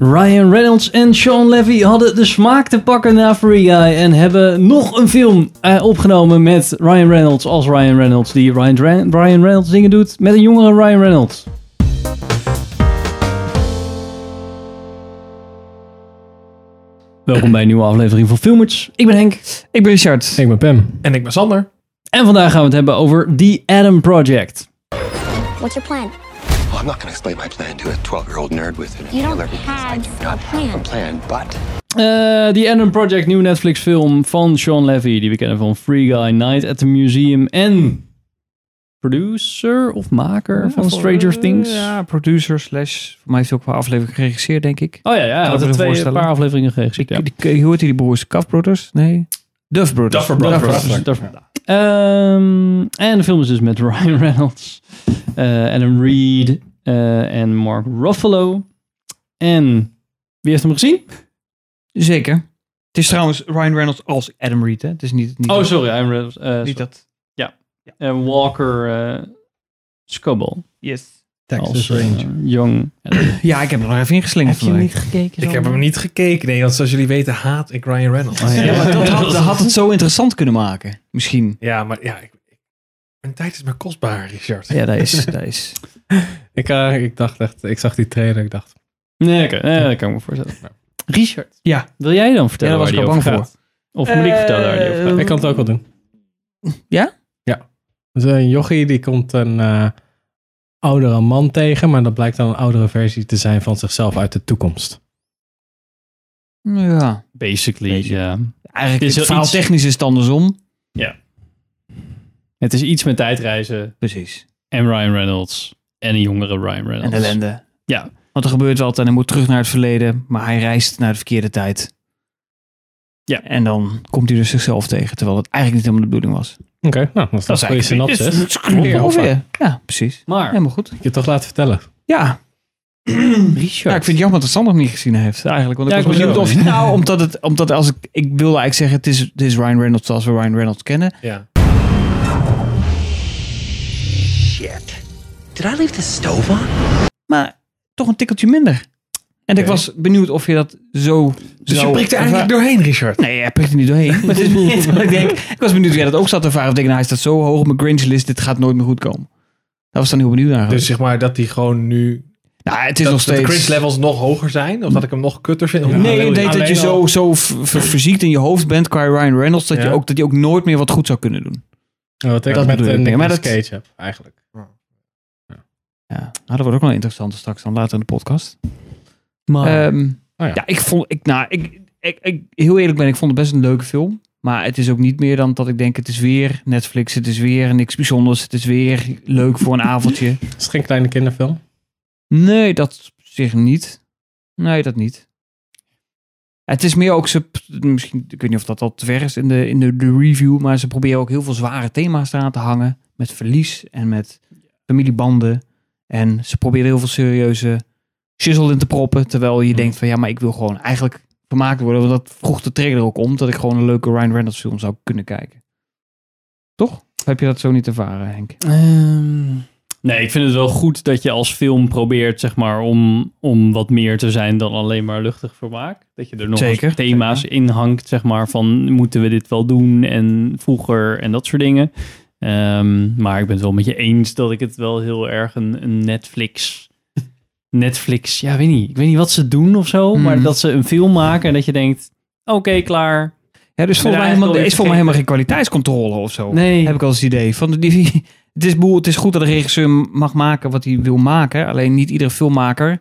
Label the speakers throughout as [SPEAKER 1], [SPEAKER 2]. [SPEAKER 1] Ryan Reynolds en Sean Levy hadden de smaak te pakken na Free Guy en hebben nog een film eh, opgenomen met Ryan Reynolds als Ryan Reynolds, die Ryan, Dra- Ryan Reynolds dingen doet met een jongere Ryan Reynolds. Welkom bij een nieuwe aflevering van Filmers. Ik ben Henk
[SPEAKER 2] Ik ben Richard.
[SPEAKER 3] Ik ben Pam.
[SPEAKER 2] En ik ben Sander.
[SPEAKER 1] en vandaag gaan we het hebben over The Adam Project.
[SPEAKER 4] What's your plan?
[SPEAKER 5] Well, I'm not going to explain my plan to a 12 year old nerd with an
[SPEAKER 4] You don't
[SPEAKER 5] 11 because I
[SPEAKER 4] have
[SPEAKER 5] do not
[SPEAKER 4] a
[SPEAKER 5] have a plan, but
[SPEAKER 1] Eh, The Adam Project, nieuwe Netflix film van Sean Levy, die we kennen van Free Guy, Night at the Museum en producer of maker van Stranger Things.
[SPEAKER 2] Ja, producer slash... Voor mij heeft hij ook een paar afleveringen geregisseerd, denk ik.
[SPEAKER 1] Oh ja, ja, hij
[SPEAKER 2] ik
[SPEAKER 1] had
[SPEAKER 2] me
[SPEAKER 1] er
[SPEAKER 2] zo
[SPEAKER 1] twee, een
[SPEAKER 2] voorstellen.
[SPEAKER 1] paar afleveringen geregisseerd.
[SPEAKER 2] ik
[SPEAKER 1] Ja.
[SPEAKER 2] die, die- hoe heet die broers? Cuff Brothers? Nee. Duff Brothers.
[SPEAKER 3] Duffer Brothers.
[SPEAKER 2] Duffer
[SPEAKER 1] Dus daarvan. Ehm, en de film is dus met Ryan Reynolds, eh, Adam Reed eh, en Mark Ruffalo. En wie heeft hem gezien?
[SPEAKER 2] Zeker. Het is trouwens Ryan Reynolds als Adam Reed, hè? Het is niet... niet
[SPEAKER 1] Oh, sorry, Ryan Reynolds. eh,
[SPEAKER 2] Niet
[SPEAKER 1] sorry.
[SPEAKER 2] dat.
[SPEAKER 1] En Walker eh Scoble
[SPEAKER 2] Yes.
[SPEAKER 1] als eh, jong
[SPEAKER 2] Ja, ik heb er nog even ingeslingerd vandaag.
[SPEAKER 1] gekeken?
[SPEAKER 3] Ik heb hem niet gekeken. Nee, want zoals jullie weten haat ik Ryan Reynolds.
[SPEAKER 1] Oh,
[SPEAKER 3] ja.
[SPEAKER 2] Ja, maar dat had, dat had het zo interessant kunnen maken. Misschien.
[SPEAKER 3] maar ja, ik, ik- mijn tijd is maar kostbaar, Richard.
[SPEAKER 2] Ja, dat is... Dat is.
[SPEAKER 3] Ik, eh, ik dacht echt, ik zag die trailer, ik dacht.
[SPEAKER 1] Nee, oké, nee, dat kan ik me voorstellen. Richard.
[SPEAKER 2] Ja.
[SPEAKER 1] Wil jij dan vertellen
[SPEAKER 2] Ja, daar
[SPEAKER 1] waar die
[SPEAKER 2] was
[SPEAKER 1] over
[SPEAKER 2] ik al bang
[SPEAKER 1] gaat? Of moet ik
[SPEAKER 2] Eh,
[SPEAKER 1] vertellen waar die over gaat?
[SPEAKER 3] Ik kan het ook wel doen.
[SPEAKER 2] Ja?
[SPEAKER 3] Ja. Dus een jochie die komt een eh, oudere man tegen, maar dat blijkt dan een oudere versie te zijn van zichzelf uit de toekomst.
[SPEAKER 2] Ja.
[SPEAKER 1] Basically,
[SPEAKER 2] Beetje.
[SPEAKER 1] ja.
[SPEAKER 2] Eigenlijk
[SPEAKER 1] Dit is
[SPEAKER 2] is het
[SPEAKER 1] wel
[SPEAKER 2] verhaal
[SPEAKER 1] iets-
[SPEAKER 2] technisch is het andersom.
[SPEAKER 1] Het is iets met tijdreizen
[SPEAKER 2] Precies.
[SPEAKER 1] en Ryan Reynolds en een jongere Ryan
[SPEAKER 2] En
[SPEAKER 1] Reynolds.
[SPEAKER 2] ellende.
[SPEAKER 1] Ja.
[SPEAKER 2] Want er gebeurt wat en hij moet terug naar het verleden, maar hij reist naar de verkeerde tijd.
[SPEAKER 1] Ja.
[SPEAKER 2] En dan komt hij dus zichzelf tegen, terwijl het eigenlijk niet helemaal de bedoeling was.
[SPEAKER 3] Oké, nou, dat is een goede synopsis. Ik
[SPEAKER 2] Klopt ongeveer. Ja, precies.
[SPEAKER 1] Maar,
[SPEAKER 2] Helemaal goed.
[SPEAKER 3] je het toch laten vertellen.
[SPEAKER 2] Ja.
[SPEAKER 1] Richard.
[SPEAKER 2] ja, Ehm, nou, ik vind het jammer dat het Sander nog niet gezien heeft eigenlijk. Want ik
[SPEAKER 1] Ja,
[SPEAKER 2] was
[SPEAKER 1] ik was
[SPEAKER 2] benieuwd
[SPEAKER 1] ook
[SPEAKER 2] of... Nou, omdat, het, omdat als ik... Ik wilde eigenlijk zeggen, het is, het is Ryan Reynolds zoals we Ryan Reynolds kennen.
[SPEAKER 3] Ja.
[SPEAKER 5] shit. Did I leave the stove on?
[SPEAKER 2] Maar toch een tikkeltje minder. En ik was benieuwd of je dat zo
[SPEAKER 3] Dus je
[SPEAKER 2] zou
[SPEAKER 3] prikt
[SPEAKER 2] ervaren.
[SPEAKER 3] er eigenlijk doorheen, Richard.
[SPEAKER 2] Nee, hij prikt er niet doorheen. Maar het is niet wat ik denk. Ik was benieuwd of jij dat ook zat te ervaren. Of denk, nou, hij staat zo hoog op mijn Grinch-list. Dit gaat nooit meer goed komen. Daar was ik dan heel benieuwd naar.
[SPEAKER 3] Dus zeg maar dat hij gewoon nu
[SPEAKER 2] nou, het is
[SPEAKER 3] dat,
[SPEAKER 2] nog steeds...
[SPEAKER 3] de cringe levels nog hoger zijn? Of dat ik hem nog kutter vind?
[SPEAKER 2] Nee, het deed dat je zo, zo ver- ver- verziekt in je hoofd bent qua Ryan Reynolds. Dat, je
[SPEAKER 3] Ja.
[SPEAKER 2] ook, dat je ook nooit meer wat goed zou kunnen doen.
[SPEAKER 3] Oh, Wat ik
[SPEAKER 2] dat
[SPEAKER 3] met
[SPEAKER 2] bedoel ik.
[SPEAKER 3] een
[SPEAKER 2] Maar dat-
[SPEAKER 3] Nicolas Cage heb, eigenlijk.
[SPEAKER 2] Ja, nou, dat wordt ook wel interessant straks dan later in de podcast.
[SPEAKER 3] Eh,
[SPEAKER 2] Ehm,
[SPEAKER 3] Oh
[SPEAKER 2] ja.
[SPEAKER 3] ja.
[SPEAKER 2] ik vond... Ik, nou, ik, ik, ik, heel eerlijk ben, ik vond het best een leuke film. Maar het is ook niet meer dan dat ik denk, het is weer Netflix. Het is weer niks bijzonders. Het is weer leuk voor een avondje.
[SPEAKER 3] Is het geen kleine kinderfilm?
[SPEAKER 2] Nee, dat op zich niet. Nee, dat niet. Het is meer ook, ze, misschien, ik weet niet of dat al te ver is in de, in de, de review, maar ze proberen ook heel veel zware thema's eraan te hangen. Met verlies en met familiebanden. En ze proberen heel veel serieuze shizzle in te proppen. Terwijl je denkt van ja, maar ik wil gewoon eigenlijk vermaakt worden. Want dat vroeg de trailer ook om, dat ik gewoon een leuke Ryan Reynolds film zou kunnen kijken. Toch? Of heb je dat zo niet ervaren, Henk?
[SPEAKER 1] Ehm, nee, ik vind het wel goed dat je als film probeert, zeg maar, om, om wat meer te zijn dan alleen maar luchtig vermaak. Dat je er nog
[SPEAKER 2] Zeker,
[SPEAKER 1] eens thema's in hangt, zeg maar, van moeten we dit wel doen en vroeger en dat soort dingen. Ehm, maar ik ben het wel met je eens dat ik het wel heel erg een, een Netflix... Netflix, ja, weet niet. Ik weet niet wat ze doen of zo,
[SPEAKER 2] Hmm.
[SPEAKER 1] maar dat ze een film maken en dat je denkt, oké, klaar.
[SPEAKER 2] Ja, dus volgens mij
[SPEAKER 1] eigenlijk
[SPEAKER 2] helemaal, er
[SPEAKER 1] alweer
[SPEAKER 2] is
[SPEAKER 1] vergeten.
[SPEAKER 2] volgens mij helemaal geen kwaliteitscontrole of zo.
[SPEAKER 1] Nee.
[SPEAKER 2] Heb ik al eens het idee. Van die, het, is boel, het is goed dat de regisseur mag maken wat hij wil maken. Alleen niet iedere filmmaker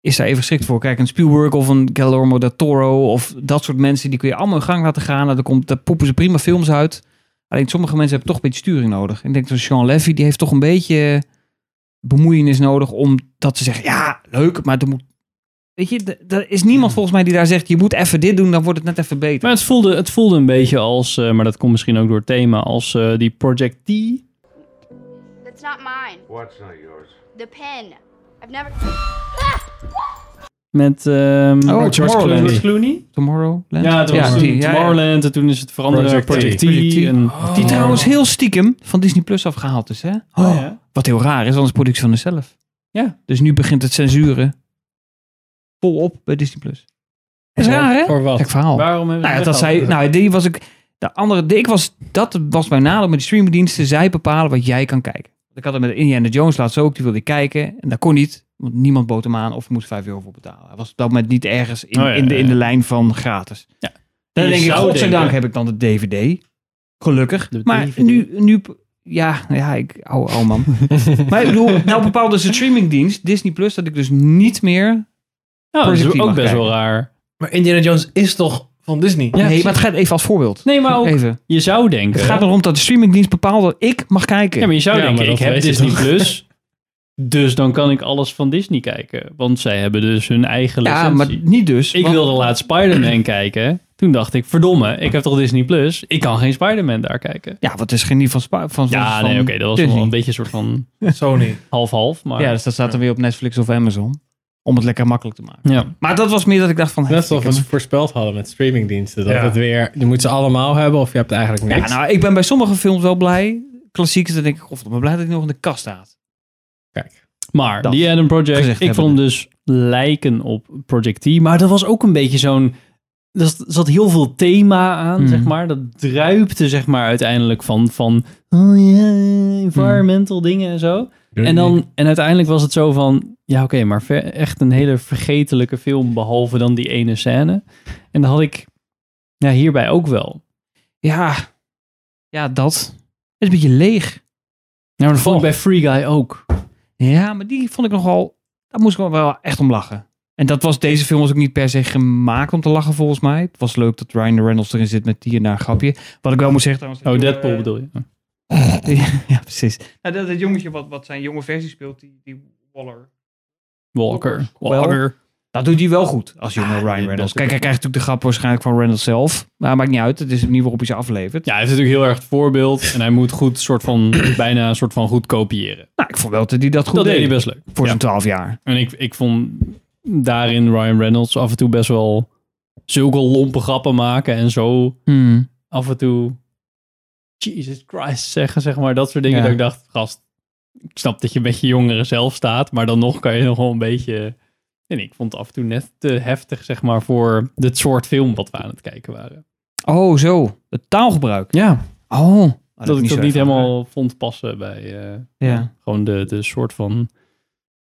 [SPEAKER 2] is daar even geschikt voor. Kijk, een Spielberg of een Guillermo del Toro of dat soort mensen... die kun je allemaal in gang laten gaan. En Daar, komt, daar poepen ze prima films uit. Alleen sommige mensen hebben toch een beetje sturing nodig. En ik denk dat Sean Levy, die heeft toch een beetje bemoeienis nodig... omdat ze zeggen, ja, leuk, maar er moet... Weet je, d- er is niemand volgens mij die daar zegt... je moet even dit doen, dan wordt het net even beter.
[SPEAKER 1] Maar het voelde, het voelde een beetje als, eh, maar dat komt misschien ook door het thema, als eh, die Project T.
[SPEAKER 6] That's not mine.
[SPEAKER 7] What's not yours?
[SPEAKER 6] The pen. I've never.
[SPEAKER 1] Met ehm,
[SPEAKER 2] Oh,
[SPEAKER 3] George
[SPEAKER 2] Tomorrowland.
[SPEAKER 3] Clooney.
[SPEAKER 1] George Clooney.
[SPEAKER 2] Tomorrowland?
[SPEAKER 1] Ja, toen was
[SPEAKER 2] die,
[SPEAKER 1] toen
[SPEAKER 2] ja, ja.
[SPEAKER 1] Tomorrowland en toen is het veranderd naar Project
[SPEAKER 3] Project
[SPEAKER 1] T.
[SPEAKER 3] T.
[SPEAKER 1] en-
[SPEAKER 2] Die trouwens heel stiekem van Disney Plus afgehaald is, hè? Oh,
[SPEAKER 1] ja.
[SPEAKER 2] Wat heel raar is, anders productie van zichzelf.
[SPEAKER 1] Ja.
[SPEAKER 2] Dus nu begint het censuren. volop bij Disney+. Plus. Dat is raar, hè?
[SPEAKER 3] Voor wat?
[SPEAKER 2] Gek verhaal.
[SPEAKER 1] Waarom hebben
[SPEAKER 2] Nou, ja,
[SPEAKER 1] ze
[SPEAKER 2] dat zei,
[SPEAKER 1] weggehaald?
[SPEAKER 2] nou, die was ik. De andere, de- ik was, dat was mijn nadeel met die streamingdiensten. Zij bepalen wat jij kan kijken. Want Ik had het met Indiana Jones laatst ook. Die wilde ik kijken. En dat kon niet. Want niemand bood hem aan of moest 5 euro voor betalen. Hij was op dat moment niet ergens in,
[SPEAKER 1] Oh, ja,
[SPEAKER 2] in, de, in
[SPEAKER 1] ja.
[SPEAKER 2] de lijn van gratis.
[SPEAKER 1] Ja.
[SPEAKER 2] Dan
[SPEAKER 1] Je
[SPEAKER 2] denk ik,
[SPEAKER 1] zou
[SPEAKER 2] godzijdank
[SPEAKER 1] denken-
[SPEAKER 2] heb ik dan de DVD. Gelukkig.
[SPEAKER 1] De
[SPEAKER 2] maar
[SPEAKER 1] DVD.
[SPEAKER 2] nu, nu... Ja, ja, ik... Oh, oh man. maar ik bedoel, nou bepaalde dus de streamingdienst, Disney+, Plus, dat ik dus niet meer...
[SPEAKER 1] Nou, dat
[SPEAKER 2] Project
[SPEAKER 1] is
[SPEAKER 2] Team
[SPEAKER 1] ook
[SPEAKER 2] mag
[SPEAKER 1] best
[SPEAKER 2] kijken.
[SPEAKER 1] wel raar.
[SPEAKER 7] Maar Indiana Jones is toch van Disney?
[SPEAKER 1] Ja, Nou,
[SPEAKER 2] nee, maar het gaat even als voorbeeld.
[SPEAKER 1] Nee, maar ook,
[SPEAKER 2] Even.
[SPEAKER 1] je zou denken...
[SPEAKER 2] Het gaat erom dat de streamingdienst bepaalt dat ik mag kijken.
[SPEAKER 1] Ja, maar je zou
[SPEAKER 3] Ja,
[SPEAKER 1] denken,
[SPEAKER 3] maar dat
[SPEAKER 1] ik heb
[SPEAKER 3] weet je
[SPEAKER 1] Disney
[SPEAKER 3] toch?
[SPEAKER 1] Plus, dus dan kan ik alles van Disney kijken. Want zij hebben dus hun eigen
[SPEAKER 2] Ja,
[SPEAKER 1] licentie.
[SPEAKER 2] maar niet dus.
[SPEAKER 1] Ik
[SPEAKER 2] want-
[SPEAKER 1] wilde laatst Spider-Man kijken. Toen dacht ik, verdomme, ik heb toch Disney Plus? Ik kan geen Spider-Man daar kijken.
[SPEAKER 2] Ja, wat is geen niet van... Spa- van
[SPEAKER 1] Ja,
[SPEAKER 2] van
[SPEAKER 1] nee, oké, dat was
[SPEAKER 2] Disney.
[SPEAKER 1] wel een beetje een soort van
[SPEAKER 7] Sony.
[SPEAKER 1] half-half, maar...
[SPEAKER 2] Ja, dus dat staat dan weer op Netflix of Amazon. Om het lekker makkelijk te maken.
[SPEAKER 1] ja.
[SPEAKER 2] Maar dat was meer dat ik dacht van...
[SPEAKER 3] Net zoals
[SPEAKER 2] hey,
[SPEAKER 3] we voorspeld hadden met streamingdiensten. Dat
[SPEAKER 7] Ja.
[SPEAKER 3] het weer, je moet ze allemaal hebben of je hebt eigenlijk
[SPEAKER 2] Ja,
[SPEAKER 3] niks.
[SPEAKER 2] nou, ik ben bij sommige films wel blij. Klassiekers, dan denk ik, god, ik ben blij dat hij nog in de kast staat.
[SPEAKER 3] Kijk.
[SPEAKER 1] Maar
[SPEAKER 2] Dat
[SPEAKER 1] The Adam
[SPEAKER 2] gezegd
[SPEAKER 1] Project, ik vond hem dus lijken op Project T. Maar dat was ook een beetje zo'n... Er zat- zat heel veel thema aan,
[SPEAKER 2] Mhm.
[SPEAKER 1] zeg maar. Dat druipte, zeg maar, uiteindelijk van... van oh ja,
[SPEAKER 2] Hmm.
[SPEAKER 1] environmental dingen en zo. En, dan, en uiteindelijk was het zo van... Ja, oké, maar ver- echt een hele vergetelijke film... behalve dan die ene scène. En dat had ik ja, hierbij ook wel.
[SPEAKER 2] Ja, ja, dat. Het is een beetje leeg.
[SPEAKER 1] Ja, maar dat vond ik bij Free Guy ook.
[SPEAKER 2] Ja, maar die vond ik nogal... Daar moest ik wel- wel echt om lachen. En dat was, deze film was ook niet per se gemaakt om te lachen, volgens mij. Het was leuk dat Ryan Reynolds erin zit met die en daar grapje. Wat ik wel moet zeggen trouwens...
[SPEAKER 1] Oh,
[SPEAKER 2] dat-
[SPEAKER 1] Deadpool bedoel je?
[SPEAKER 2] ja, precies. Nou, dat, dat jongetje wat, wat zijn jonge versie speelt, die, die Waller.
[SPEAKER 1] Walker.
[SPEAKER 2] Wel- Dat doet hij wel goed als jonge
[SPEAKER 1] Ah,
[SPEAKER 2] Ryan
[SPEAKER 1] dat- dat
[SPEAKER 2] Reynolds.
[SPEAKER 1] is-
[SPEAKER 2] Kijk, hij krijgt natuurlijk de grap waarschijnlijk van Reynolds zelf. Maar maakt niet uit. Het is de manier waarop hij ze aflevert.
[SPEAKER 1] Ja, hij heeft natuurlijk heel erg het voorbeeld. En hij moet goed, soort van, bijna een soort van goed kopiëren.
[SPEAKER 2] Nou, ik vond wel dat hij dat goed
[SPEAKER 1] dat
[SPEAKER 2] deed.
[SPEAKER 1] deed hij best leuk.
[SPEAKER 2] Voor
[SPEAKER 1] Ja.
[SPEAKER 2] zijn 12 jaar.
[SPEAKER 1] En ik, ik vond daarin Ryan Reynolds af en toe best wel zulke lompe grappen maken. En zo
[SPEAKER 2] Hmm.
[SPEAKER 1] af en toe Jesus Christ zeggen, zeg maar. Dat soort dingen
[SPEAKER 2] Ja.
[SPEAKER 1] dat ik dacht, gast, ik snap dat je met je jongeren zelf staat. Maar dan nog kan je nog wel een beetje... En ik vond het af en toe net te heftig, zeg maar, voor dit soort film wat we aan het kijken waren.
[SPEAKER 2] Oh, zo. Het taalgebruik.
[SPEAKER 1] Ja,
[SPEAKER 2] Oh.
[SPEAKER 1] dat, ik dat niet helemaal vond passen bij... eh,
[SPEAKER 2] Ja.
[SPEAKER 1] Gewoon de, de soort van.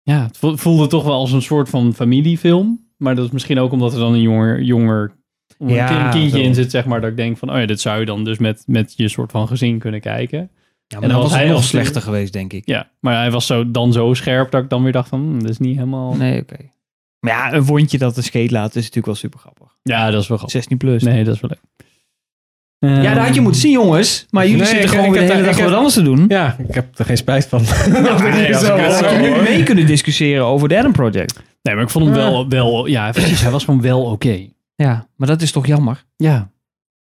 [SPEAKER 1] Ja, het vo- voelde toch wel als een soort van familiefilm. Maar dat is misschien ook omdat er dan een jonger. jonger omdat er
[SPEAKER 2] Ja,
[SPEAKER 1] een kindje
[SPEAKER 2] zo.
[SPEAKER 1] in zit, zeg maar. Dat ik denk van. Oh ja, dit zou je dan dus met, met je soort van gezin kunnen kijken.
[SPEAKER 2] maar
[SPEAKER 1] En
[SPEAKER 2] dan was hij nog
[SPEAKER 1] nog
[SPEAKER 2] slechter geweest, denk ik.
[SPEAKER 1] Ja, maar hij was zo, dan zo scherp dat ik dan weer dacht van. hmm, dat is niet helemaal.
[SPEAKER 2] Nee, oké. Maar ja, een wondje dat een scheet laat is natuurlijk wel super grappig.
[SPEAKER 1] Ja, dat is wel grappig.
[SPEAKER 2] 16 plus.
[SPEAKER 1] Nee, dat is wel leuk. Ehm,
[SPEAKER 2] Ja, dat had je moeten zien, jongens. Maar jullie
[SPEAKER 3] Nee,
[SPEAKER 2] zitten
[SPEAKER 3] ik-
[SPEAKER 2] gewoon
[SPEAKER 3] ik
[SPEAKER 2] weer de
[SPEAKER 3] heb-
[SPEAKER 2] hele
[SPEAKER 3] ik
[SPEAKER 2] dag
[SPEAKER 3] heb-
[SPEAKER 2] wat anders te doen.
[SPEAKER 3] Ja, ik heb er geen spijt van.
[SPEAKER 1] nee,
[SPEAKER 3] Zo,
[SPEAKER 1] dat is
[SPEAKER 2] Had
[SPEAKER 3] hoor.
[SPEAKER 2] je nu mee kunnen discussiëren over de Adam Project.
[SPEAKER 1] Nee, maar ik vond hem wel. wel ja, precies. Hij was gewoon wel oké.
[SPEAKER 2] Ja, maar dat is toch jammer.
[SPEAKER 1] Ja,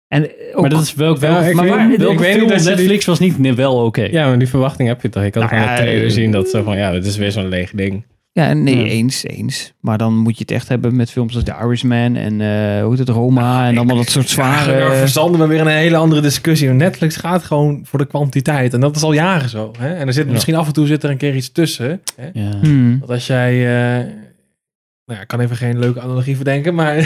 [SPEAKER 2] En eh, ook,
[SPEAKER 1] maar dat is welk,
[SPEAKER 3] Oh, Ja,
[SPEAKER 1] welk,
[SPEAKER 3] ik
[SPEAKER 1] maar
[SPEAKER 3] weet-
[SPEAKER 1] waar-
[SPEAKER 3] ik
[SPEAKER 1] welke
[SPEAKER 3] weet niet
[SPEAKER 1] film op
[SPEAKER 3] dat je die-
[SPEAKER 1] Netflix was niet ne- wel oké.
[SPEAKER 3] Ja, maar die verwachting heb je toch? Ik had
[SPEAKER 2] Nou
[SPEAKER 3] gewoon
[SPEAKER 2] ja,
[SPEAKER 3] een trailer
[SPEAKER 2] eh,
[SPEAKER 3] zien dat zo van, ja, dit is weer zo'n leeg ding.
[SPEAKER 2] ja, nee,
[SPEAKER 1] Ja.
[SPEAKER 2] eens, eens. Maar dan moet je het echt hebben met films als The Irishman en eh, hoe heet het, Roma en allemaal dat soort zware...
[SPEAKER 7] Daar verzanden we weer in een hele andere discussie. Netflix gaat gewoon voor de kwantiteit. En dat is al jaren zo. Hè? En er zit
[SPEAKER 1] Ja.
[SPEAKER 7] misschien af en toe zit er een keer iets tussen. Hè?
[SPEAKER 1] Ja.
[SPEAKER 2] Hmm.
[SPEAKER 7] Want als jij... eh, nou ja, ik kan even geen leuke analogie verdenken, maar...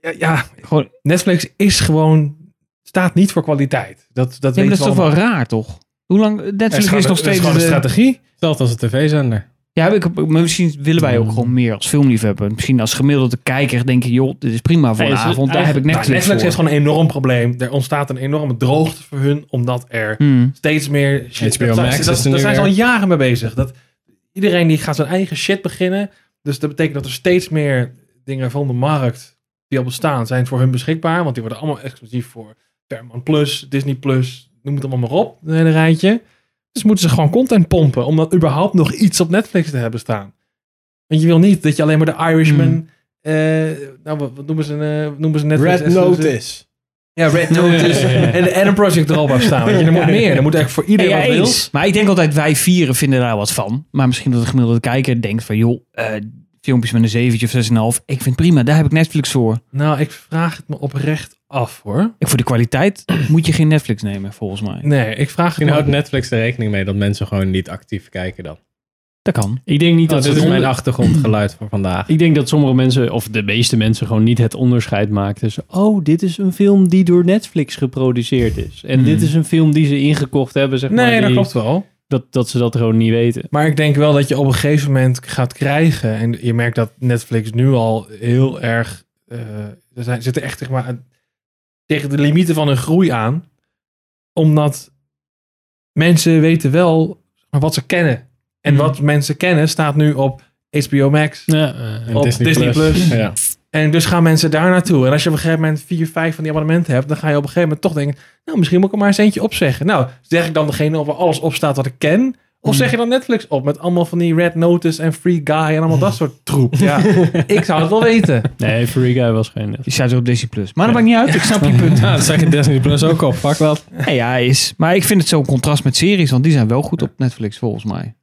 [SPEAKER 7] ja, ja,
[SPEAKER 2] Gewoon, ja,
[SPEAKER 7] Netflix is gewoon... Staat niet voor kwaliteit. Dat, dat
[SPEAKER 2] maar
[SPEAKER 7] weten
[SPEAKER 2] dat is
[SPEAKER 7] we
[SPEAKER 2] toch wel
[SPEAKER 7] allemaal.
[SPEAKER 2] raar, toch? Hoe lang...
[SPEAKER 7] Het is
[SPEAKER 2] Netflix
[SPEAKER 7] gewoon-
[SPEAKER 2] is nog
[SPEAKER 7] het is
[SPEAKER 2] steeds...
[SPEAKER 7] gewoon een
[SPEAKER 2] de-
[SPEAKER 7] strategie.
[SPEAKER 3] Hetzelfde als een tv-zender.
[SPEAKER 2] ja, ik, maar misschien willen wij ook gewoon meer als filmliefhebber. Misschien als gemiddelde kijker denk je, joh, dit is prima voor
[SPEAKER 1] Nee,
[SPEAKER 2] een
[SPEAKER 1] is het
[SPEAKER 2] avond. Daar heb ik
[SPEAKER 1] eigenlijk-
[SPEAKER 2] Netflix,
[SPEAKER 7] Netflix, nou, Netflix
[SPEAKER 2] voor.
[SPEAKER 7] heeft gewoon een enorm probleem. Er ontstaat een enorme droogte voor hun, omdat er
[SPEAKER 2] Hmm.
[SPEAKER 7] steeds meer shit.
[SPEAKER 3] HBO
[SPEAKER 7] dat,
[SPEAKER 3] Max
[SPEAKER 7] dat,
[SPEAKER 3] is
[SPEAKER 7] dat,
[SPEAKER 3] er
[SPEAKER 7] daar
[SPEAKER 3] nu
[SPEAKER 7] zijn ze al
[SPEAKER 3] weer.
[SPEAKER 7] jaren mee bezig. Dat, iedereen die gaat zijn eigen shit beginnen. Dus dat betekent dat er steeds meer dingen van de markt die al bestaan zijn voor hun beschikbaar. Want die worden allemaal exclusief voor Paramount Plus, Disney Plus, noem het allemaal maar op. Een hele rijtje. Dus moeten ze gewoon content pompen om dan überhaupt nog iets op Netflix te hebben staan. Want je wil niet dat je alleen maar de Irishman... eh, nou, wat, wat noemen ze, eh, wat noemen ze Netflix? Ja, Red Notice. En de Adam Project erop af staan. Weet je, er moet meer. Er moet echt voor iedereen
[SPEAKER 2] Ja,
[SPEAKER 7] wat wil.
[SPEAKER 2] eens. Maar ik denk altijd, wij vieren vinden daar wat van. Maar misschien dat de gemiddelde kijker denkt van, joh, eh, filmpjes met een zeventje of 6,5. Ik vind het prima, daar heb ik Netflix voor.
[SPEAKER 7] Nou, ik vraag het me oprecht af, hoor.
[SPEAKER 2] Ik, voor de kwaliteit moet je geen Netflix nemen, volgens mij.
[SPEAKER 7] Nee, ik vraag het
[SPEAKER 3] Misschien
[SPEAKER 7] me...
[SPEAKER 3] houdt Netflix er rekening mee dat mensen gewoon niet actief kijken dan.
[SPEAKER 2] Dat kan.
[SPEAKER 1] Ik denk niet
[SPEAKER 3] Oh,
[SPEAKER 1] dat
[SPEAKER 3] dit
[SPEAKER 1] het
[SPEAKER 3] is mijn
[SPEAKER 1] onder-
[SPEAKER 3] achtergrondgeluid voor vandaag.
[SPEAKER 1] Ik denk dat sommige mensen, of de meeste mensen, gewoon niet het onderscheid maakt tussen... Oh, dit is een film die door Netflix geproduceerd is. En
[SPEAKER 2] Hmm.
[SPEAKER 1] dit is een film die ze ingekocht hebben, zeg maar.
[SPEAKER 7] Nee, dat
[SPEAKER 1] die-
[SPEAKER 7] klopt wel.
[SPEAKER 1] Dat, dat ze dat gewoon niet weten.
[SPEAKER 7] Maar ik denk wel dat je op een gegeven moment gaat krijgen. En je merkt dat Netflix nu al heel erg. eh, er zijn, zitten echt zeg maar, aan- tegen de limieten van hun groei aan. Omdat mensen weten wel zeg maar, wat ze kennen. En
[SPEAKER 1] Mhm.
[SPEAKER 7] wat mensen kennen staat nu op HBO Max.
[SPEAKER 1] Ja, eh,
[SPEAKER 3] En
[SPEAKER 7] op Disney Plus.
[SPEAKER 3] Ja.
[SPEAKER 7] En dus gaan mensen daar naartoe. En als je op een gegeven moment vier, vijf van die abonnementen hebt, dan ga je op een gegeven moment toch denken, nou, misschien moet ik er maar eens eentje opzeggen. Nou, zeg ik dan degene op waar alles op staat wat ik ken? Of zeg je dan Netflix op met allemaal van die Red Notice en Free Guy en allemaal dat soort troep? Ja, ik zou het wel weten.
[SPEAKER 1] nee, Free Guy was geen Netflix.
[SPEAKER 2] Je staat er op Disney Plus. Maar dat maakt niet uit. Ik snap je punt.
[SPEAKER 3] Ja, dat zeg je Disney Plus ook al. Fuck dat.
[SPEAKER 2] Nee, ja, is. Maar ik vind het zo'n contrast met series, want die zijn wel goed op Netflix volgens mij.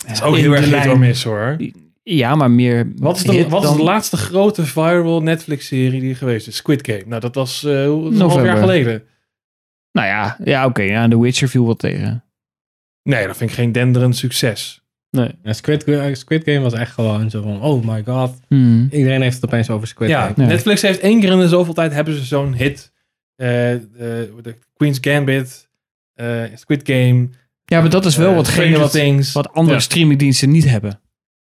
[SPEAKER 7] Dat is ook heel erg hit or miss hoor.
[SPEAKER 2] Ja, maar meer.
[SPEAKER 7] Wat is de,
[SPEAKER 2] hit
[SPEAKER 7] wat is
[SPEAKER 2] dan-
[SPEAKER 7] de laatste grote viral Netflix-serie die er geweest is? Squid Game. Nou, dat was eh, hoe- een half
[SPEAKER 2] November.
[SPEAKER 7] jaar geleden.
[SPEAKER 2] Nou ja, ja oké. ja, The Witcher viel wel tegen.
[SPEAKER 7] Nee, dat vind ik geen denderend succes.
[SPEAKER 1] Nee.
[SPEAKER 3] Ja, Squid, eh, Squid Game was echt gewoon zo van, oh my god.
[SPEAKER 2] Hmm.
[SPEAKER 3] Iedereen heeft het opeens over Squid
[SPEAKER 7] Ja,
[SPEAKER 3] Game.
[SPEAKER 2] Nee.
[SPEAKER 7] Netflix heeft één keer in de zoveel tijd hebben ze zo'n hit. Eh, eh, de Queen's Gambit, eh, Squid Game.
[SPEAKER 2] Ja, maar dat is wel
[SPEAKER 7] eh,
[SPEAKER 2] watgene
[SPEAKER 7] Stranger
[SPEAKER 2] wat,
[SPEAKER 7] Things.
[SPEAKER 2] wat andere
[SPEAKER 7] Ja.
[SPEAKER 2] streamingdiensten niet hebben.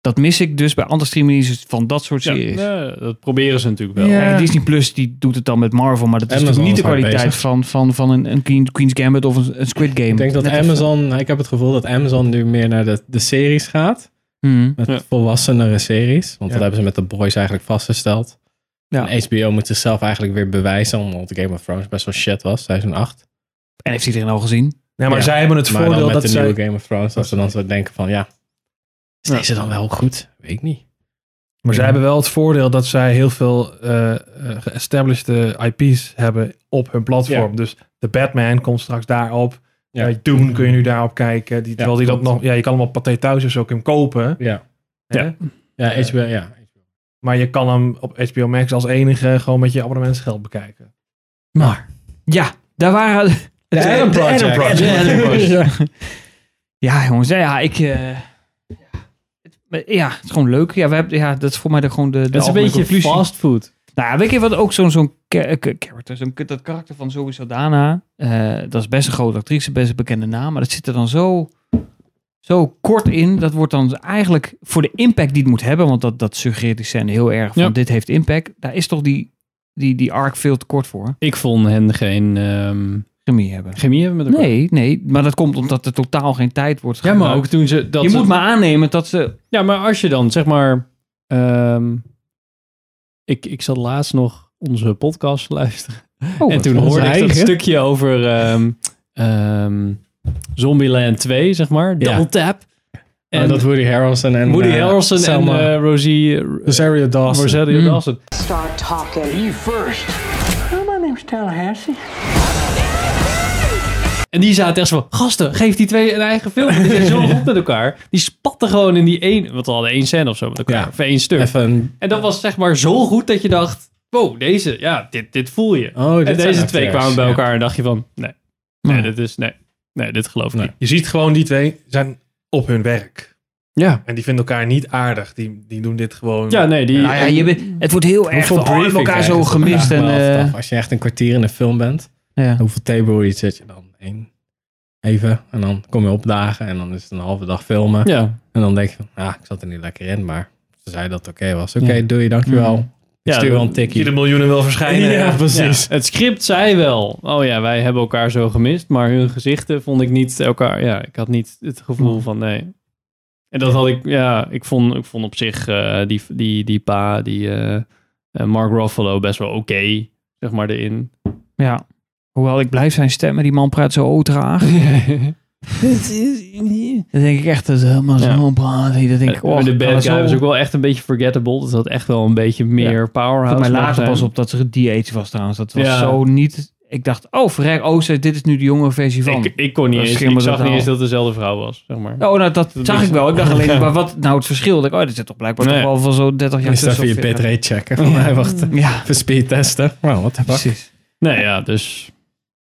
[SPEAKER 2] Dat mis ik dus bij andere streamingdiensten van dat soort
[SPEAKER 1] Ja,
[SPEAKER 2] series.
[SPEAKER 1] nou, dat proberen ze natuurlijk wel.
[SPEAKER 7] Ja.
[SPEAKER 2] Kijk, Disney Plus die doet het dan met Marvel, maar dat is
[SPEAKER 3] Amazon
[SPEAKER 2] natuurlijk niet de
[SPEAKER 3] is hard
[SPEAKER 2] kwaliteit
[SPEAKER 3] bezig.
[SPEAKER 2] van, van, van een, een Queen- Queen's Gambit of een, een Squid Game.
[SPEAKER 3] Ik denk dat
[SPEAKER 2] Net even.
[SPEAKER 3] Amazon, ik heb het gevoel dat Amazon nu meer naar de, de series gaat.
[SPEAKER 2] Hmm.
[SPEAKER 3] Met
[SPEAKER 1] Ja.
[SPEAKER 3] volwassenere series. Want
[SPEAKER 7] Ja.
[SPEAKER 3] dat hebben ze met de boys eigenlijk vastgesteld.
[SPEAKER 2] Ja.
[SPEAKER 3] En HBO moet zichzelf eigenlijk weer bewijzen, omdat Game of Thrones best wel shit was, seizoen 8.
[SPEAKER 2] En heeft iedereen al gezien?
[SPEAKER 7] ja, maar
[SPEAKER 3] ja.
[SPEAKER 7] zij hebben het
[SPEAKER 3] maar dan
[SPEAKER 7] voordeel
[SPEAKER 3] met
[SPEAKER 7] dat
[SPEAKER 3] de
[SPEAKER 7] zij...
[SPEAKER 3] nieuwe Game of Thrones, dat ze dan zo denken van, ja, is
[SPEAKER 1] Ja.
[SPEAKER 3] deze dan wel goed? Weet ik niet.
[SPEAKER 7] Maar zij hebben wel het voordeel dat zij heel veel eh eh, geestablished eh, IP's hebben op hun platform. Dus de Batman komt straks daarop.
[SPEAKER 3] Ja.
[SPEAKER 7] Eh, Dune kun je nu daarop kijken. Die, terwijl die dat
[SPEAKER 3] klopt.
[SPEAKER 7] nog, ja, je kan hem op Pathé thuis of zo kun je hem kopen.
[SPEAKER 3] Ja,
[SPEAKER 7] hè?
[SPEAKER 3] ja HBO, ja.
[SPEAKER 7] Maar je kan hem op HBO Max als enige gewoon met je abonnementsgeld bekijken.
[SPEAKER 2] Maar. Ja, daar waren...
[SPEAKER 3] De Adam Project.
[SPEAKER 7] Adam Project.
[SPEAKER 2] Ja,
[SPEAKER 7] Adam Project.
[SPEAKER 2] Ja, jongens. nou Ja, ik... eh, het- ja, het is gewoon leuk. Ja, we hebben, ja dat is voor mij de, gewoon de, de
[SPEAKER 1] Dat is een
[SPEAKER 2] algemene
[SPEAKER 1] beetje
[SPEAKER 2] conclusie.
[SPEAKER 1] fastfood.
[SPEAKER 2] Nou, ja, weet je wat ook zo'n zo'n cha- eh, character, zo'n dat karakter van Zoe Saldana, eh, dat is best een grote actrice, best een bekende naam, maar dat zit er dan zo, zo kort in. Dat wordt dan eigenlijk voor de impact die het moet hebben, want dat, dat suggereert die scène heel erg van
[SPEAKER 1] Ja.
[SPEAKER 2] dit heeft impact. Daar is toch die, die, die arc veel te kort voor.
[SPEAKER 1] Ik vond hen geen ehm
[SPEAKER 2] Chemie hebben.
[SPEAKER 1] chemie hebben met elkaar.
[SPEAKER 2] Nee, nee, maar dat komt omdat er totaal geen tijd wordt
[SPEAKER 1] Ja, maar
[SPEAKER 2] gebruikt.
[SPEAKER 1] ook toen ze... Dat
[SPEAKER 2] Je
[SPEAKER 1] ze-
[SPEAKER 2] moet maar aannemen dat ze...
[SPEAKER 1] Ja, maar als je dan zeg maar. ehm, ik, ik zat laatst nog onze podcast te luisteren.
[SPEAKER 2] Oh,
[SPEAKER 1] en
[SPEAKER 2] wat-
[SPEAKER 1] toen
[SPEAKER 3] onze
[SPEAKER 1] hoorde ik dat
[SPEAKER 3] eigen.
[SPEAKER 1] stukje over ehm ehm, Zombieland 2, zeg maar.
[SPEAKER 3] Ja.
[SPEAKER 1] Double Tap. En
[SPEAKER 3] En dat Woody Harrelson en
[SPEAKER 1] Woody
[SPEAKER 3] eh,
[SPEAKER 1] Harrelson en
[SPEAKER 3] Selma
[SPEAKER 1] eh, Rosie eh,
[SPEAKER 3] Rosario Dawson.
[SPEAKER 1] Rosario
[SPEAKER 2] Mm.
[SPEAKER 1] Dawson.
[SPEAKER 8] Start talking. You first. my name's Tallahassee.
[SPEAKER 1] En die zaten echt zo van, gasten, geef die twee een eigen film. Die zijn zo goed met elkaar. Die spatten gewoon in die één... Want we hadden één scène of zo met elkaar.
[SPEAKER 3] Ja.
[SPEAKER 1] Of één stuk.
[SPEAKER 3] Even een-
[SPEAKER 1] En dat was zeg maar zo goed dat je dacht... Wow, deze, ja, dit, dit voel je.
[SPEAKER 3] Oh, dit
[SPEAKER 1] en
[SPEAKER 3] zijn
[SPEAKER 1] deze twee
[SPEAKER 3] acteurs,
[SPEAKER 1] kwamen bij
[SPEAKER 3] ja.
[SPEAKER 1] elkaar en dacht je van... Nee, nee,
[SPEAKER 2] Nee.
[SPEAKER 1] dit is... Nee, nee dit geloof ik
[SPEAKER 3] Nee.
[SPEAKER 1] niet.
[SPEAKER 7] Je ziet gewoon die twee zijn op hun werk.
[SPEAKER 1] Ja.
[SPEAKER 7] En die vinden elkaar niet aardig. Die, die doen dit gewoon.
[SPEAKER 1] Ja, nee, die...
[SPEAKER 2] Nou ja, je bent- het wordt heel erg
[SPEAKER 3] Hoeveel
[SPEAKER 2] van oh, we hebben
[SPEAKER 3] briefing
[SPEAKER 2] elkaar zo
[SPEAKER 3] krijgen ze?
[SPEAKER 2] gemist.
[SPEAKER 3] Vraag
[SPEAKER 2] En,
[SPEAKER 3] me af,
[SPEAKER 2] eh,
[SPEAKER 3] toch? als je echt een kwartier in de film bent,
[SPEAKER 2] ja.
[SPEAKER 3] hoeveel table zit je dan? Eén. Even. En dan kom je opdagen en dan is het een halve dag filmen.
[SPEAKER 1] Ja,
[SPEAKER 3] En dan denk je van, ah, ik zat er niet lekker in, maar ze zei dat het oké was. Oké,
[SPEAKER 1] Ja.
[SPEAKER 3] doe je, dankjewel.
[SPEAKER 2] Mm.
[SPEAKER 3] Ik
[SPEAKER 1] Ja,
[SPEAKER 3] stuur wel een
[SPEAKER 1] dat-
[SPEAKER 7] Zie je de
[SPEAKER 3] tikkie.
[SPEAKER 7] miljoenen wel verschijnen.
[SPEAKER 3] Ja, precies.
[SPEAKER 1] het script zei wel... Oh ja, wij hebben elkaar zo gemist. Maar hun gezichten vond ik niet elkaar... Ja, ik had niet het gevoel van nee. En dat had ik... Ja, ik vond, ik vond op zich eh, die, die, die pa, die eh, eh, Mark Ruffalo best wel oké. zeg maar erin.
[SPEAKER 2] Ja. Hoewel ik blijf zijn stem, maar die man praat zo traag. Dan denk ik echt, dat is helemaal
[SPEAKER 1] Ja.
[SPEAKER 2] zo'n praat. Dan denk ik,
[SPEAKER 1] Eh, Maar
[SPEAKER 2] oh,
[SPEAKER 1] de
[SPEAKER 2] dat
[SPEAKER 1] bad
[SPEAKER 2] is
[SPEAKER 1] guy was
[SPEAKER 2] zo-
[SPEAKER 1] ook wel echt een beetje forgettable. dus Dat had echt wel een beetje meer powerhouse.
[SPEAKER 2] Viel mij
[SPEAKER 1] mogen
[SPEAKER 2] later
[SPEAKER 1] zijn.
[SPEAKER 2] pas op dat ze die age was trouwens. Dat was
[SPEAKER 1] Ja.
[SPEAKER 2] zo niet... Ik dacht, oh, verrek, oh, ze- dit is nu de jongere versie van.
[SPEAKER 1] Ik, ik kon niet
[SPEAKER 2] Dat
[SPEAKER 1] eens. Ik
[SPEAKER 2] schimmerde
[SPEAKER 1] zag
[SPEAKER 2] het
[SPEAKER 1] niet
[SPEAKER 2] al.
[SPEAKER 1] eens dat het dezelfde vrouw was, zeg maar.
[SPEAKER 2] Oh, nou, dat,
[SPEAKER 1] Dat
[SPEAKER 2] zag
[SPEAKER 1] is-
[SPEAKER 2] ik wel. Ik dacht alleen, maar wat nou het verschil? Ik, dacht, oh, dit zit toch blijkbaar
[SPEAKER 1] Nee.
[SPEAKER 2] toch wel van zo 30 jaar
[SPEAKER 3] Is dat
[SPEAKER 2] tussen
[SPEAKER 3] even je
[SPEAKER 2] of 40.
[SPEAKER 3] bitrate checken? Van, hij wacht,
[SPEAKER 2] Ja, Mm.
[SPEAKER 3] even speed testen. Wow, wat de fuck.
[SPEAKER 2] precies.
[SPEAKER 1] Nee, ja, dus...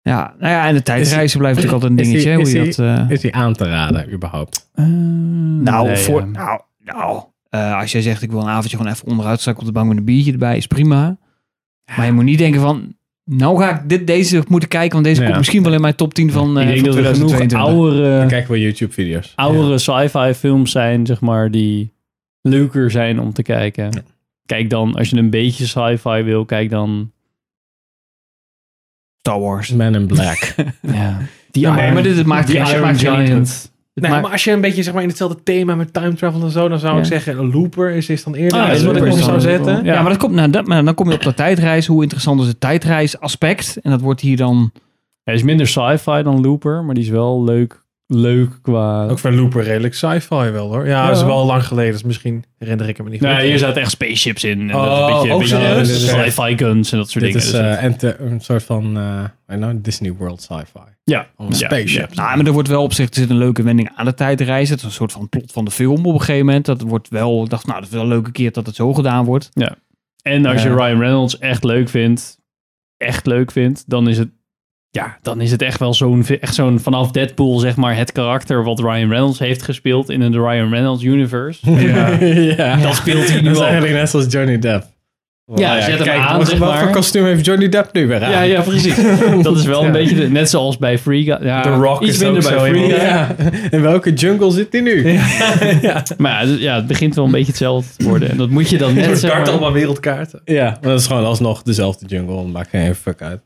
[SPEAKER 2] Ja, nou ja, en de tijdreizen blijft natuurlijk altijd een
[SPEAKER 3] is die-
[SPEAKER 2] dingetje. hè,
[SPEAKER 3] is
[SPEAKER 2] hoe je dat, eh,
[SPEAKER 3] Is die aan te raden, überhaupt?
[SPEAKER 2] nou,
[SPEAKER 1] Eh, nee,
[SPEAKER 2] voor,
[SPEAKER 1] ja.
[SPEAKER 2] nou, nou eh, als jij zegt ik wil een avondje gewoon even onderuit zakken op de bank met een biertje erbij, is prima. Maar je moet niet denken van, nou ga ik dit, deze moeten kijken, want deze
[SPEAKER 3] Ja.
[SPEAKER 2] komt misschien wel in mijn top 10 van, eh
[SPEAKER 1] ik denk
[SPEAKER 2] van
[SPEAKER 1] dat er genoeg
[SPEAKER 2] 2022.
[SPEAKER 1] oudere,
[SPEAKER 3] Dan kijken we YouTube-video's.
[SPEAKER 1] oudere sci-fi films zijn, zeg maar, die leuker zijn om te kijken. Kijk dan, als je een beetje sci-fi wil, kijk dan.
[SPEAKER 2] Star Wars.
[SPEAKER 3] Man in Black.
[SPEAKER 1] Ja.
[SPEAKER 2] Die
[SPEAKER 7] Ja,
[SPEAKER 2] maar dit het maakt
[SPEAKER 1] Die
[SPEAKER 2] geen
[SPEAKER 1] Iron
[SPEAKER 2] maakt geen-
[SPEAKER 1] Giant.
[SPEAKER 2] het
[SPEAKER 7] Nee, maar,
[SPEAKER 2] maakt-
[SPEAKER 7] als je een beetje zeg maar, in hetzelfde thema met time travel en zo, dan zou ik
[SPEAKER 2] Ja.
[SPEAKER 7] zeggen: een looper is, is dan eerder.
[SPEAKER 1] Ah,
[SPEAKER 7] Ah, is wat ik
[SPEAKER 1] Looper
[SPEAKER 7] op
[SPEAKER 1] is
[SPEAKER 7] zou
[SPEAKER 1] dan-
[SPEAKER 7] zetten.
[SPEAKER 1] Ja.
[SPEAKER 2] Ja, maar, dat komt, nou, dat, maar dan kom je op dat tijdreis. Hoe interessant is het tijdreisaspect? En dat wordt hier dan...
[SPEAKER 1] Hij is minder sci-fi dan Looper, maar die is wel leuk, leuk qua...
[SPEAKER 7] Ook van Looper redelijk sci-fi wel hoor. Ja,
[SPEAKER 1] Ja.
[SPEAKER 7] dat is wel lang geleden, dus misschien herinner ik hem me niet.
[SPEAKER 1] Nee,
[SPEAKER 7] goed.
[SPEAKER 1] Nou, hier zaten echt spaceships in. En
[SPEAKER 7] Oh,
[SPEAKER 1] dat een beetje,
[SPEAKER 7] ook
[SPEAKER 1] beetje
[SPEAKER 7] serieus?
[SPEAKER 1] eh, sci-fi guns en dat soort
[SPEAKER 3] Dit
[SPEAKER 1] dingen.
[SPEAKER 3] is
[SPEAKER 1] Dus dat-
[SPEAKER 3] eh, ent- een soort van eh, I don't know, Disney World sci-fi.
[SPEAKER 1] ja.
[SPEAKER 3] Een spaceship.
[SPEAKER 2] Nou, maar er wordt wel op zich... Er zit een leuke wending aan de tijdreis. Het is een soort van plot van de film op een gegeven moment. Dat wordt wel... Ik dacht, nou, dat is wel een leuke keer dat het zo gedaan wordt.
[SPEAKER 1] En als je
[SPEAKER 2] Ja.
[SPEAKER 1] Ryan Reynolds echt leuk vindt, echt leuk vindt, dan is het, ja, dan is het echt wel zo'n, echt zo'n vanaf Deadpool, zeg maar, het karakter wat Ryan Reynolds heeft gespeeld in een Ryan Reynolds universe.
[SPEAKER 3] Ja.
[SPEAKER 1] Dat speelt hij
[SPEAKER 3] Dat
[SPEAKER 1] nu
[SPEAKER 3] is
[SPEAKER 1] al.
[SPEAKER 3] eigenlijk net zoals Johnny Depp.
[SPEAKER 1] Ja, zet hem aan,
[SPEAKER 3] wat-
[SPEAKER 1] zeg
[SPEAKER 3] wat
[SPEAKER 1] maar.
[SPEAKER 3] voor kostuum heeft Johnny Depp nu weer aan?
[SPEAKER 1] Ja, ja, precies. Dat is wel een beetje, de- net zoals bij Free Guy. Ja,
[SPEAKER 7] The Rock
[SPEAKER 1] iets
[SPEAKER 7] is
[SPEAKER 1] minder
[SPEAKER 7] ook
[SPEAKER 1] bij
[SPEAKER 7] zo
[SPEAKER 1] Free
[SPEAKER 7] iemand.
[SPEAKER 1] Guy.
[SPEAKER 3] Ja. In welke jungle zit hij nu?
[SPEAKER 1] Maar ja, ja, het begint wel een beetje hetzelfde te worden. En dat moet je dan
[SPEAKER 7] Een
[SPEAKER 1] net
[SPEAKER 7] soort
[SPEAKER 1] zeg
[SPEAKER 7] dart
[SPEAKER 1] maar-
[SPEAKER 7] allemaal wereldkaarten.
[SPEAKER 3] Ja, maar dat is gewoon alsnog dezelfde jungle. Dat maakt geen fuck uit.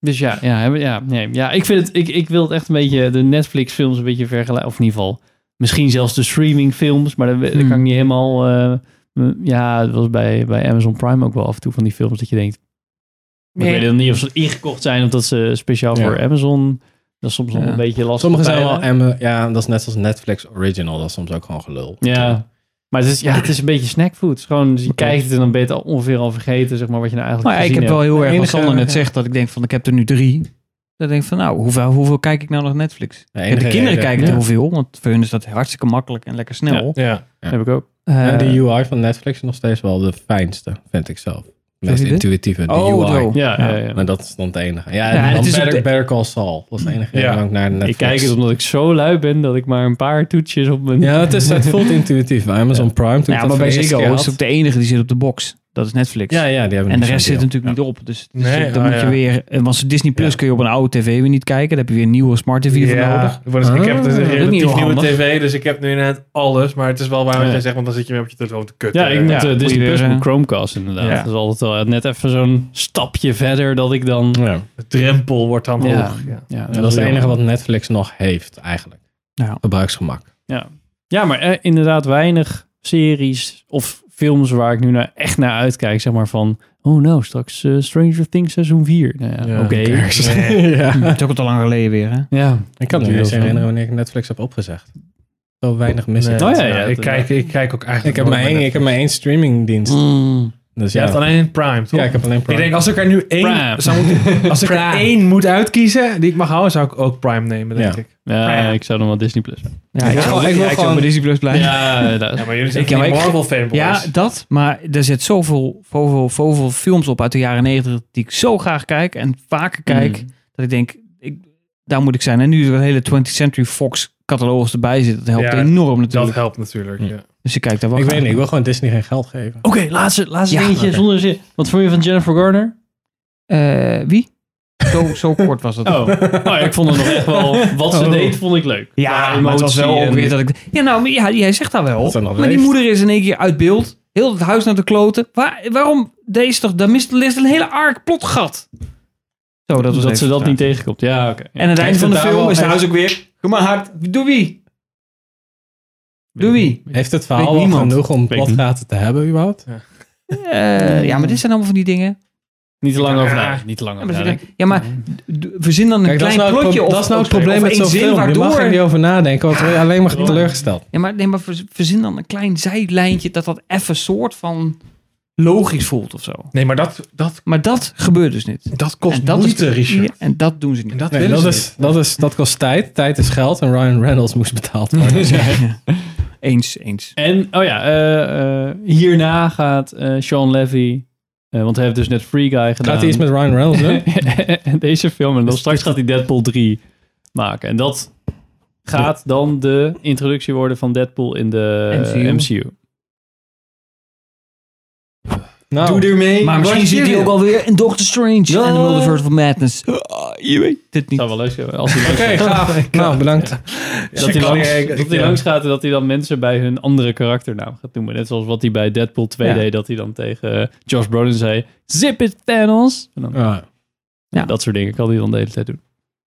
[SPEAKER 1] Dus ja, ja, hebben- ja, nee, ja ik, vind het, ik, ik wil het echt een beetje de Netflix-films een beetje vergelijken. Of in ieder geval misschien zelfs de streaming-films. Maar dat, we- dat
[SPEAKER 2] Hmm.
[SPEAKER 1] kan ik niet helemaal. eh, m- ja, dat was bij, bij Amazon Prime ook wel af en toe van die films dat je denkt.
[SPEAKER 2] Nee.
[SPEAKER 1] Ik weet dan niet of ze ingekocht zijn of dat ze speciaal
[SPEAKER 3] Ja.
[SPEAKER 1] voor Amazon. Dat is soms nog
[SPEAKER 2] Ja.
[SPEAKER 1] een beetje lastig.
[SPEAKER 3] Sommige zijn wel...
[SPEAKER 1] peilen.
[SPEAKER 3] Emma, ja, dat is net zoals Netflix Original. Dat is soms ook gewoon gelul.
[SPEAKER 1] Ja. Maar het is, ja, het is een beetje snackfood. Het is Gewoon, dus je kijkt het en dan ben je het al ongeveer al vergeten, zeg maar, wat je nou
[SPEAKER 2] Maar
[SPEAKER 1] eigenlijk
[SPEAKER 2] ja, ik
[SPEAKER 1] gezien
[SPEAKER 2] heb wel
[SPEAKER 1] hebt.
[SPEAKER 2] heel erg... Wat
[SPEAKER 3] enige-
[SPEAKER 2] Sander net
[SPEAKER 3] ja.
[SPEAKER 2] zegt, dat ik denk van... Ik heb er nu drie. Dan denk ik van, nou, hoeveel, hoeveel kijk ik nou nog Netflix?
[SPEAKER 3] De
[SPEAKER 2] En
[SPEAKER 3] enige
[SPEAKER 2] de kinderen
[SPEAKER 3] reden-
[SPEAKER 2] kijken er
[SPEAKER 3] Ja.
[SPEAKER 2] heel veel. Want voor hun is dat hartstikke makkelijk en lekker snel.
[SPEAKER 7] Ja.
[SPEAKER 1] Heb ik ook.
[SPEAKER 3] Ja,
[SPEAKER 2] Eh,
[SPEAKER 3] de UI van Netflix is nog steeds wel de fijnste, vind ik zelf. De
[SPEAKER 2] Vind
[SPEAKER 3] meest
[SPEAKER 2] je dit?
[SPEAKER 3] intuïtieve, de
[SPEAKER 2] Oh,
[SPEAKER 3] UI.
[SPEAKER 2] zo.
[SPEAKER 1] Ja, ja. ja.
[SPEAKER 3] Maar dat is dan het enige. Ja,
[SPEAKER 2] Ja,
[SPEAKER 3] en
[SPEAKER 2] het
[SPEAKER 3] dan
[SPEAKER 2] is ook
[SPEAKER 3] Better,
[SPEAKER 2] de-
[SPEAKER 3] Better Call Saul. Dat is de enige reden
[SPEAKER 7] Ja.
[SPEAKER 3] waarom ik naar Netflix...
[SPEAKER 1] Ik kijk het omdat ik zo lui ben dat ik maar een paar toetjes op mijn...
[SPEAKER 3] Ja, het, is, het voelt intuïtief. Amazon Prime,
[SPEAKER 2] Ja,
[SPEAKER 3] toen ik
[SPEAKER 2] maar bij
[SPEAKER 3] dat voor de eerste
[SPEAKER 2] Ziggo
[SPEAKER 3] keer
[SPEAKER 2] is
[SPEAKER 3] had-
[SPEAKER 2] ook de enige die zit op de box. Dat is Netflix.
[SPEAKER 3] Ja, ja, die hebben
[SPEAKER 2] En de
[SPEAKER 3] niet
[SPEAKER 2] rest
[SPEAKER 3] zo'n
[SPEAKER 2] zit
[SPEAKER 3] deal.
[SPEAKER 2] natuurlijk niet op. Dus, dus
[SPEAKER 7] Nee,
[SPEAKER 2] dan
[SPEAKER 7] ah,
[SPEAKER 2] moet je
[SPEAKER 7] ja.
[SPEAKER 2] weer... eh, Want Disney Plus kun je op een oude tv weer niet kijken. Dan heb je weer een nieuwe smart tv voor nodig.
[SPEAKER 7] Ik, word eens- ik heb dus
[SPEAKER 2] Ah,
[SPEAKER 7] een
[SPEAKER 2] dat is
[SPEAKER 7] relatief
[SPEAKER 2] niet heel
[SPEAKER 7] nieuwe
[SPEAKER 2] handig.
[SPEAKER 7] tv, dus ik heb nu inderdaad alles. Maar het is wel waar wat
[SPEAKER 1] Ja.
[SPEAKER 7] jij zegt, want dan zit je weer op je telefoon te kutten.
[SPEAKER 1] Ja, ik moet eh,
[SPEAKER 2] moet
[SPEAKER 1] Disney
[SPEAKER 2] je
[SPEAKER 1] Plus
[SPEAKER 2] weer,
[SPEAKER 1] met
[SPEAKER 2] eh,
[SPEAKER 1] Chromecast inderdaad.
[SPEAKER 2] ja.
[SPEAKER 1] Dat is altijd wel net even zo'n stapje verder dat ik dan...
[SPEAKER 3] Ja.
[SPEAKER 7] De drempel wordt dan
[SPEAKER 1] Ja.
[SPEAKER 7] hoog. Ja.
[SPEAKER 1] Ja,
[SPEAKER 3] Dat is het enige wat Netflix nog heeft, eigenlijk.
[SPEAKER 2] Ja.
[SPEAKER 3] Gebruiksgemak.
[SPEAKER 1] Ja, maar eh, inderdaad weinig series of films waar ik nu naar, echt naar uitkijk. Zeg maar van, oh nou, straks eh, Stranger Things seizoen 4. Nou ja,
[SPEAKER 7] Ja,
[SPEAKER 1] oké.
[SPEAKER 3] ja.
[SPEAKER 2] Het is ook al te lang geleden weer. Hè?
[SPEAKER 1] Ja.
[SPEAKER 3] Ik kan me niet eens herinneren wanneer ik Netflix heb opgezegd. Zo weinig mis ik.
[SPEAKER 1] Oh,
[SPEAKER 7] Nee,
[SPEAKER 1] ja,
[SPEAKER 7] nou,
[SPEAKER 1] ja,
[SPEAKER 7] ik,
[SPEAKER 1] dat-
[SPEAKER 7] kijk, ik kijk ook
[SPEAKER 3] Ik
[SPEAKER 7] eigenlijk...
[SPEAKER 3] heb,
[SPEAKER 7] nooit
[SPEAKER 3] maar één,
[SPEAKER 7] meer
[SPEAKER 3] ik heb maar één streamingdienst.
[SPEAKER 1] Mm.
[SPEAKER 3] Dus
[SPEAKER 7] Jij
[SPEAKER 3] ja,
[SPEAKER 7] hebt alleen Prime, toch?
[SPEAKER 3] ja, ik heb alleen
[SPEAKER 7] Ik
[SPEAKER 3] Prime.
[SPEAKER 7] denk, als ik er nu één,
[SPEAKER 1] Prime.
[SPEAKER 7] zou moeten, als ik er
[SPEAKER 2] Prime.
[SPEAKER 7] één moet uitkiezen die ik mag houden, zou ik ook Prime nemen, denk
[SPEAKER 3] Ja.
[SPEAKER 7] ik.
[SPEAKER 1] Ja, ik zou dan wel Disney Plus.
[SPEAKER 2] Ja,
[SPEAKER 3] Ik wil
[SPEAKER 2] ik
[SPEAKER 3] gewoon-
[SPEAKER 2] zou-
[SPEAKER 3] ik wil
[SPEAKER 2] ja, ik zou
[SPEAKER 3] gewoon-
[SPEAKER 2] bij Disney Plus blijven. Ja.
[SPEAKER 1] Ja, dat is-
[SPEAKER 7] maar jullie
[SPEAKER 2] Ik- ja, maar ik-
[SPEAKER 7] fanboys.
[SPEAKER 2] dat, maar er zit zoveel, zoveel, zoveel films op uit de jaren negentig die ik zo graag kijk en vaker kijk,
[SPEAKER 1] Mm.
[SPEAKER 2] dat ik denk, ik, daar moet ik zijn. En nu er een hele 20th Century Fox catalogus erbij zit, dat helpt
[SPEAKER 7] Ja,
[SPEAKER 2] enorm natuurlijk.
[SPEAKER 7] Dat helpt natuurlijk, ja.
[SPEAKER 2] Dus ik kijk daar wel
[SPEAKER 3] ik
[SPEAKER 2] graag
[SPEAKER 3] weet niet,
[SPEAKER 2] naar.
[SPEAKER 3] ik wil gewoon Disney geen geld geven.
[SPEAKER 1] Oké, laatste, laatste
[SPEAKER 2] Ja,
[SPEAKER 1] dingetje
[SPEAKER 2] oké.
[SPEAKER 1] zonder zin. Wat vond je van Jennifer Garner?
[SPEAKER 2] Eh, wie? Zo, zo kort was dat.
[SPEAKER 1] Oh, nou, ik vond het nog echt wel... Wat ze
[SPEAKER 3] Oh.
[SPEAKER 1] deed, vond ik leuk.
[SPEAKER 2] Ja,
[SPEAKER 1] Qua
[SPEAKER 2] maar het was
[SPEAKER 1] emotie
[SPEAKER 2] wel ook
[SPEAKER 1] en-
[SPEAKER 2] weer dat ik... Ja, nou, maar ja, jij zegt dat wel.
[SPEAKER 3] Dat ze nog
[SPEAKER 2] maar die
[SPEAKER 3] leeft.
[SPEAKER 2] moeder is in één keer uit beeld. Heel het huis naar de kloten. Waar, waarom? Deze toch, daar mist ligt een hele ark plotgat. Zo, dat was
[SPEAKER 1] dat ze
[SPEAKER 2] even
[SPEAKER 1] dat
[SPEAKER 2] raar.
[SPEAKER 1] niet tegenkomt. Ja, oké.
[SPEAKER 2] En aan het einde
[SPEAKER 3] Heeft
[SPEAKER 2] van de
[SPEAKER 3] het daar
[SPEAKER 2] film
[SPEAKER 3] wel
[SPEAKER 2] is het
[SPEAKER 3] echt-
[SPEAKER 2] huis ook weer gemaakt. Door wie? Door wie?
[SPEAKER 3] Heeft het verhaal
[SPEAKER 2] Weet
[SPEAKER 3] wel
[SPEAKER 2] niemand.
[SPEAKER 3] genoeg om
[SPEAKER 1] Weet ik
[SPEAKER 3] plotgaten te hebben, überhaupt?
[SPEAKER 2] Eh, ja, maar dit zijn allemaal van die dingen.
[SPEAKER 1] Niet te lang over na.
[SPEAKER 7] Ja.
[SPEAKER 1] Niet te lang
[SPEAKER 2] Ja,
[SPEAKER 1] over
[SPEAKER 2] maar, Mhm.
[SPEAKER 1] nadenken.
[SPEAKER 2] ja, maar d- verzin dan een
[SPEAKER 3] Kijk, dat is
[SPEAKER 2] klein
[SPEAKER 3] nou het,
[SPEAKER 2] plotje.
[SPEAKER 3] pro-
[SPEAKER 2] Of,
[SPEAKER 3] dat is nou het
[SPEAKER 2] of-
[SPEAKER 3] probleem
[SPEAKER 2] of
[SPEAKER 3] met
[SPEAKER 2] één
[SPEAKER 3] zo'n
[SPEAKER 2] zin
[SPEAKER 3] film. Je mag
[SPEAKER 2] waardoor-
[SPEAKER 3] er niet over nadenken, want dan word je alleen maar teleurgesteld.
[SPEAKER 2] Ja, maar, nee, maar ver- verzin dan een klein zijlijntje dat dat even soort van logisch voelt of zo.
[SPEAKER 7] Nee, maar dat, dat,
[SPEAKER 2] Maar dat gebeurt dus niet.
[SPEAKER 7] dat kost
[SPEAKER 2] dat
[SPEAKER 7] moeite,
[SPEAKER 2] is,
[SPEAKER 7] Richard.
[SPEAKER 2] Ja, en dat doen ze
[SPEAKER 7] En
[SPEAKER 2] niet.
[SPEAKER 7] dat
[SPEAKER 3] Nee,
[SPEAKER 7] willen
[SPEAKER 3] dat,
[SPEAKER 7] ze
[SPEAKER 3] is, dat, is, dat kost tijd. Tijd is geld en Ryan Reynolds moest betaald worden.
[SPEAKER 2] Eens, eens.
[SPEAKER 1] En, oh ja, eh, eh, hierna gaat eh, Sean Levy Eh, want hij heeft dus net Free Guy gedaan.
[SPEAKER 3] Gaat hij iets met Ryan Reynolds doen?
[SPEAKER 1] En deze film. En dan
[SPEAKER 3] Dus-
[SPEAKER 1] straks gaat hij Deadpool 3 maken. En dat gaat dan de introductie worden van Deadpool in de eh,
[SPEAKER 2] MCU.
[SPEAKER 1] MCU.
[SPEAKER 3] nou,
[SPEAKER 1] ermee.
[SPEAKER 2] Maar misschien zit hij ook alweer in Doctor Strange en The Multiverse of Madness.
[SPEAKER 3] Ah,
[SPEAKER 2] je weet het niet.
[SPEAKER 1] zou wel leuk zijn als hij
[SPEAKER 3] Oké,
[SPEAKER 1] langs-
[SPEAKER 3] gaaf. Nou, bedankt.
[SPEAKER 1] dat hij,
[SPEAKER 7] kan
[SPEAKER 1] langs,
[SPEAKER 7] niet-
[SPEAKER 1] dat hij
[SPEAKER 7] ja.
[SPEAKER 1] langs gaat en dat hij dan mensen bij hun andere karakternaam gaat noemen. Net zoals wat hij bij Deadpool 2
[SPEAKER 2] Ja.
[SPEAKER 1] deed, dat hij dan tegen eh, Josh Brolin zei, Zip it Thanos! En dan,
[SPEAKER 3] Ah,
[SPEAKER 2] Ja.
[SPEAKER 1] Dat soort dingen kan hij dan de hele tijd doen.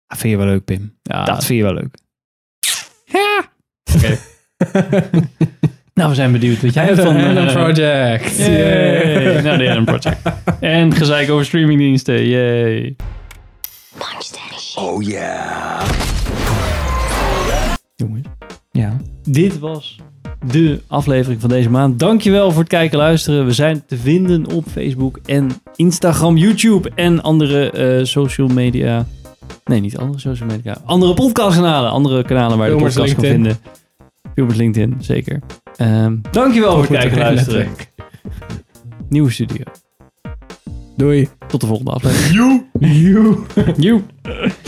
[SPEAKER 2] Dat Ah, vind je wel leuk, Pim.
[SPEAKER 1] Ja,
[SPEAKER 2] Dat vind je wel leuk.
[SPEAKER 1] nou, we zijn benieuwd wat jij
[SPEAKER 3] The
[SPEAKER 1] van...
[SPEAKER 3] Random
[SPEAKER 1] eh,
[SPEAKER 3] Project.
[SPEAKER 1] Yay! Nou, de Adam Project. En gezeik over streamingdiensten. Yay.
[SPEAKER 4] Punch that shit.
[SPEAKER 5] Oh, yeah.
[SPEAKER 1] Jongens.
[SPEAKER 2] Ja.
[SPEAKER 1] Dit was de aflevering van deze maand. Dankjewel voor het kijken en luisteren. We zijn te vinden op Facebook en Instagram, YouTube en andere eh, social media. Nee, niet andere social media. Andere podcastkanalen. Andere kanalen waar je de
[SPEAKER 3] Filmers
[SPEAKER 1] podcast kan
[SPEAKER 3] LinkedIn.
[SPEAKER 1] vinden. Filmers LinkedIn, zeker. Ehm, dankjewel voor het
[SPEAKER 3] Goed,
[SPEAKER 1] kijken en
[SPEAKER 3] oké,
[SPEAKER 1] luisteren.
[SPEAKER 3] netwerk.
[SPEAKER 1] Nieuwe studio.
[SPEAKER 3] Doei.
[SPEAKER 1] Tot de volgende aflevering.
[SPEAKER 3] You.
[SPEAKER 1] Joe.